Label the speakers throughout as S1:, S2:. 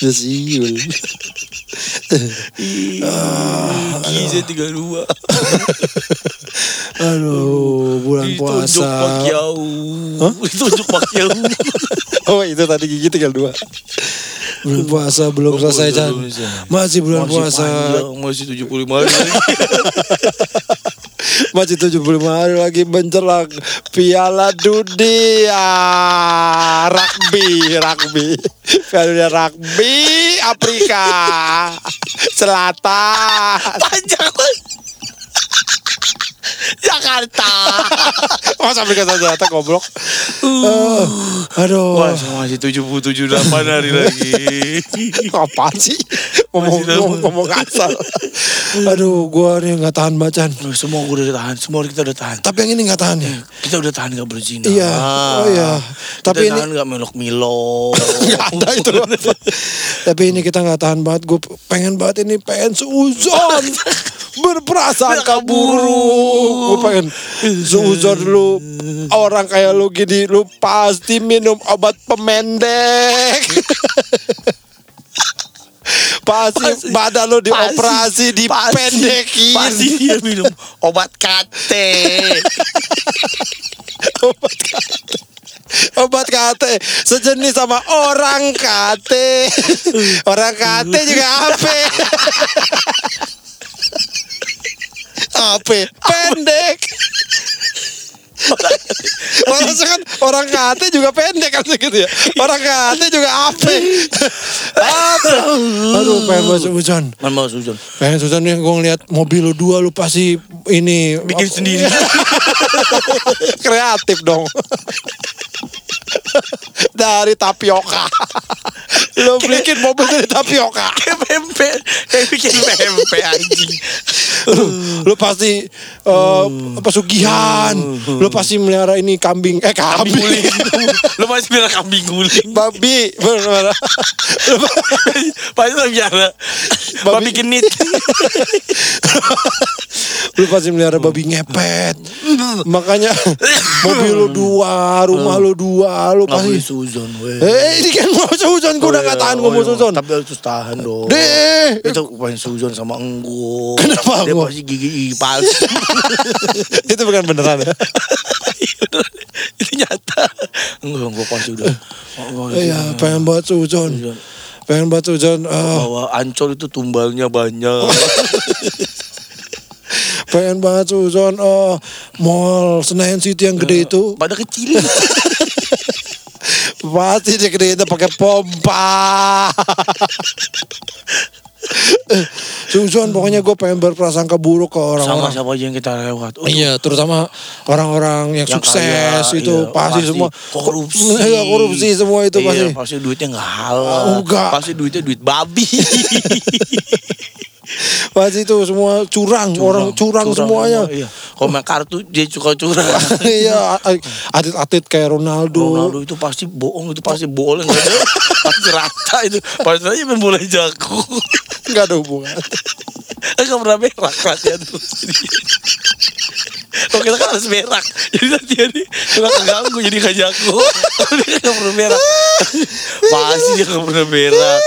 S1: Desiul.
S2: Giza tinggal dua
S1: Aduh, bulan
S2: Ditunjuk Pak
S1: puasa.
S2: Yau Ditunjuk Pak Yau
S1: Oh, itu tadi gigi tinggal dua. Bulan puasa belum
S2: Belum
S1: selesai,
S2: puasa,
S1: Chan.
S2: Oh, belum selesai.
S1: Masih bulan puasa.
S2: Masih 75 hari
S1: Masih 75 hari lagi menjelang Piala Dunia Rugby, rugby. Piala Dunia Rugby Afrika Selatan.
S2: Panjang Jakarta
S1: Masa Afrika Selatan goblok. Eh, aduh.
S2: Wah masih 77 delapan hari lagi
S1: Apaan sih? Ngomong,
S2: Masih lama.
S1: ngomong, ngomong asal. Aduh, gua nih nggak tahan bacaan.
S2: Loh, semua gue udah tahan, semua kita udah tahan.
S1: Tapi yang ini nggak tahan ya.
S2: Kita udah tahan gak berzina.
S1: Iya, oh iya. Tapi ini- Iya.
S2: Tapi kita tahan gak melok-milok.
S1: Nggak ada itu. Tapi ini kita nggak tahan banget. Gue pengen banget ini pengen seuzon berprasangka buruk. Gue pengen seuzon lu orang kayak lu gini lu pasti minum obat pemendek. pasti,
S2: Pasti-
S1: badan lu
S2: pasti-
S1: dioperasi dipendekin
S2: Pasti dia minum obat kate.
S1: obat kate obat kate sejenis sama orang kate orang kate juga apa apa pendek orang kan orang kate juga pendek kan gitu ya orang kate juga apa apa aduh pengen bahas hujan
S2: Man mau sujon.
S1: pengen hujan nih gue ngeliat mobil lu dua lu pasti ini
S2: Bikin
S1: apa-
S2: sendiri.
S1: kreatif dong dari tapioka lo bikin mobil dari tapioka
S2: Kayak pempek. Kayak bikin pempek anjing.
S1: lo pasti eh, pesugihan lo pasti melihara ini kambing eh kambing,
S2: Guling. Lu masih bilang kambing guling.
S1: babi bener
S2: Pasti lu biara.
S1: Babi-
S2: Babi genit.
S1: lu pasti melihara babi ngepet makanya mobil lo dua rumah lo dua lo pasti
S2: sujon weh.
S1: eh ini kan mau suzon gue udah gak tahan gue
S2: Oh, iya.
S1: mau suzon
S2: Tapi harus tahan dong.
S1: deh
S2: Itu pengen suzon sama enggo.
S1: Kenapa
S2: Dia
S1: enggo?
S2: pasti gigi gigi palsu.
S1: itu bukan beneran ya Iya,
S2: itu nyata. Enggo enggo palsu udah. Oh, oh,
S1: Iya, pengen buat suzon. Pengen buat suzon. ah,
S2: Bahwa ancol itu tumbalnya
S1: Oh,
S2: banyak.
S1: pengen banget suzon. Oh, mall Senayan City yang gede itu
S2: Pada kecil.
S1: pasti dia gede itu pakai pompa. Eh, suzon, pokoknya gue pengen berprasangka buruk ke
S2: sama
S1: orang-orang.
S2: siapa aja yang kita lewat. Oh,
S1: Iya, terutama orang-orang yang,
S2: yang
S1: sukses
S2: kaya,
S1: itu
S2: iya,
S1: pasti, semua
S2: korupsi.
S1: Iya, korupsi semua itu
S2: Iya,
S1: pasti.
S2: pasti duitnya nggak halal.
S1: Oh, enggak.
S2: Pasti duitnya duit babi.
S1: Pasti itu semua curang, orang curang, semuanya.
S2: semua, Iya. Kalau main kartu dia suka curang.
S1: Iya, atlet-atlet kayak
S2: Ronaldo itu pasti bohong itu pasti bohong enggak ada pasti rata itu pasti aja main bola jago
S1: Gak ada hubungan.
S2: enggak pernah berak latihan tuh kalau kita kan harus berak jadi latihan ini nggak keganggu jadi nggak jago Kalau dia nggak pernah berak pasti dia nggak pernah berak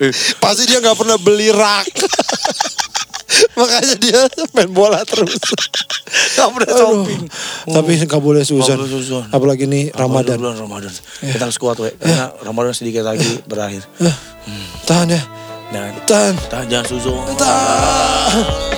S2: Eh,
S1: Pasti dia nggak pernah beli rak. Makanya dia main bola terus.
S2: nggak pernah
S1: Aduh.
S2: shopping
S1: Tapi nggak boleh susan.
S2: Nggak boleh susun.
S1: Apalagi ini Ramadan.
S2: Ramadan bulan Ramadan kita harus kuat weh karena Ramadan sedikit lagi berakhir Nah,
S1: Eh, Tahan ya.
S2: dan
S1: Tahan.
S2: tahan jangan susun
S1: Tahan.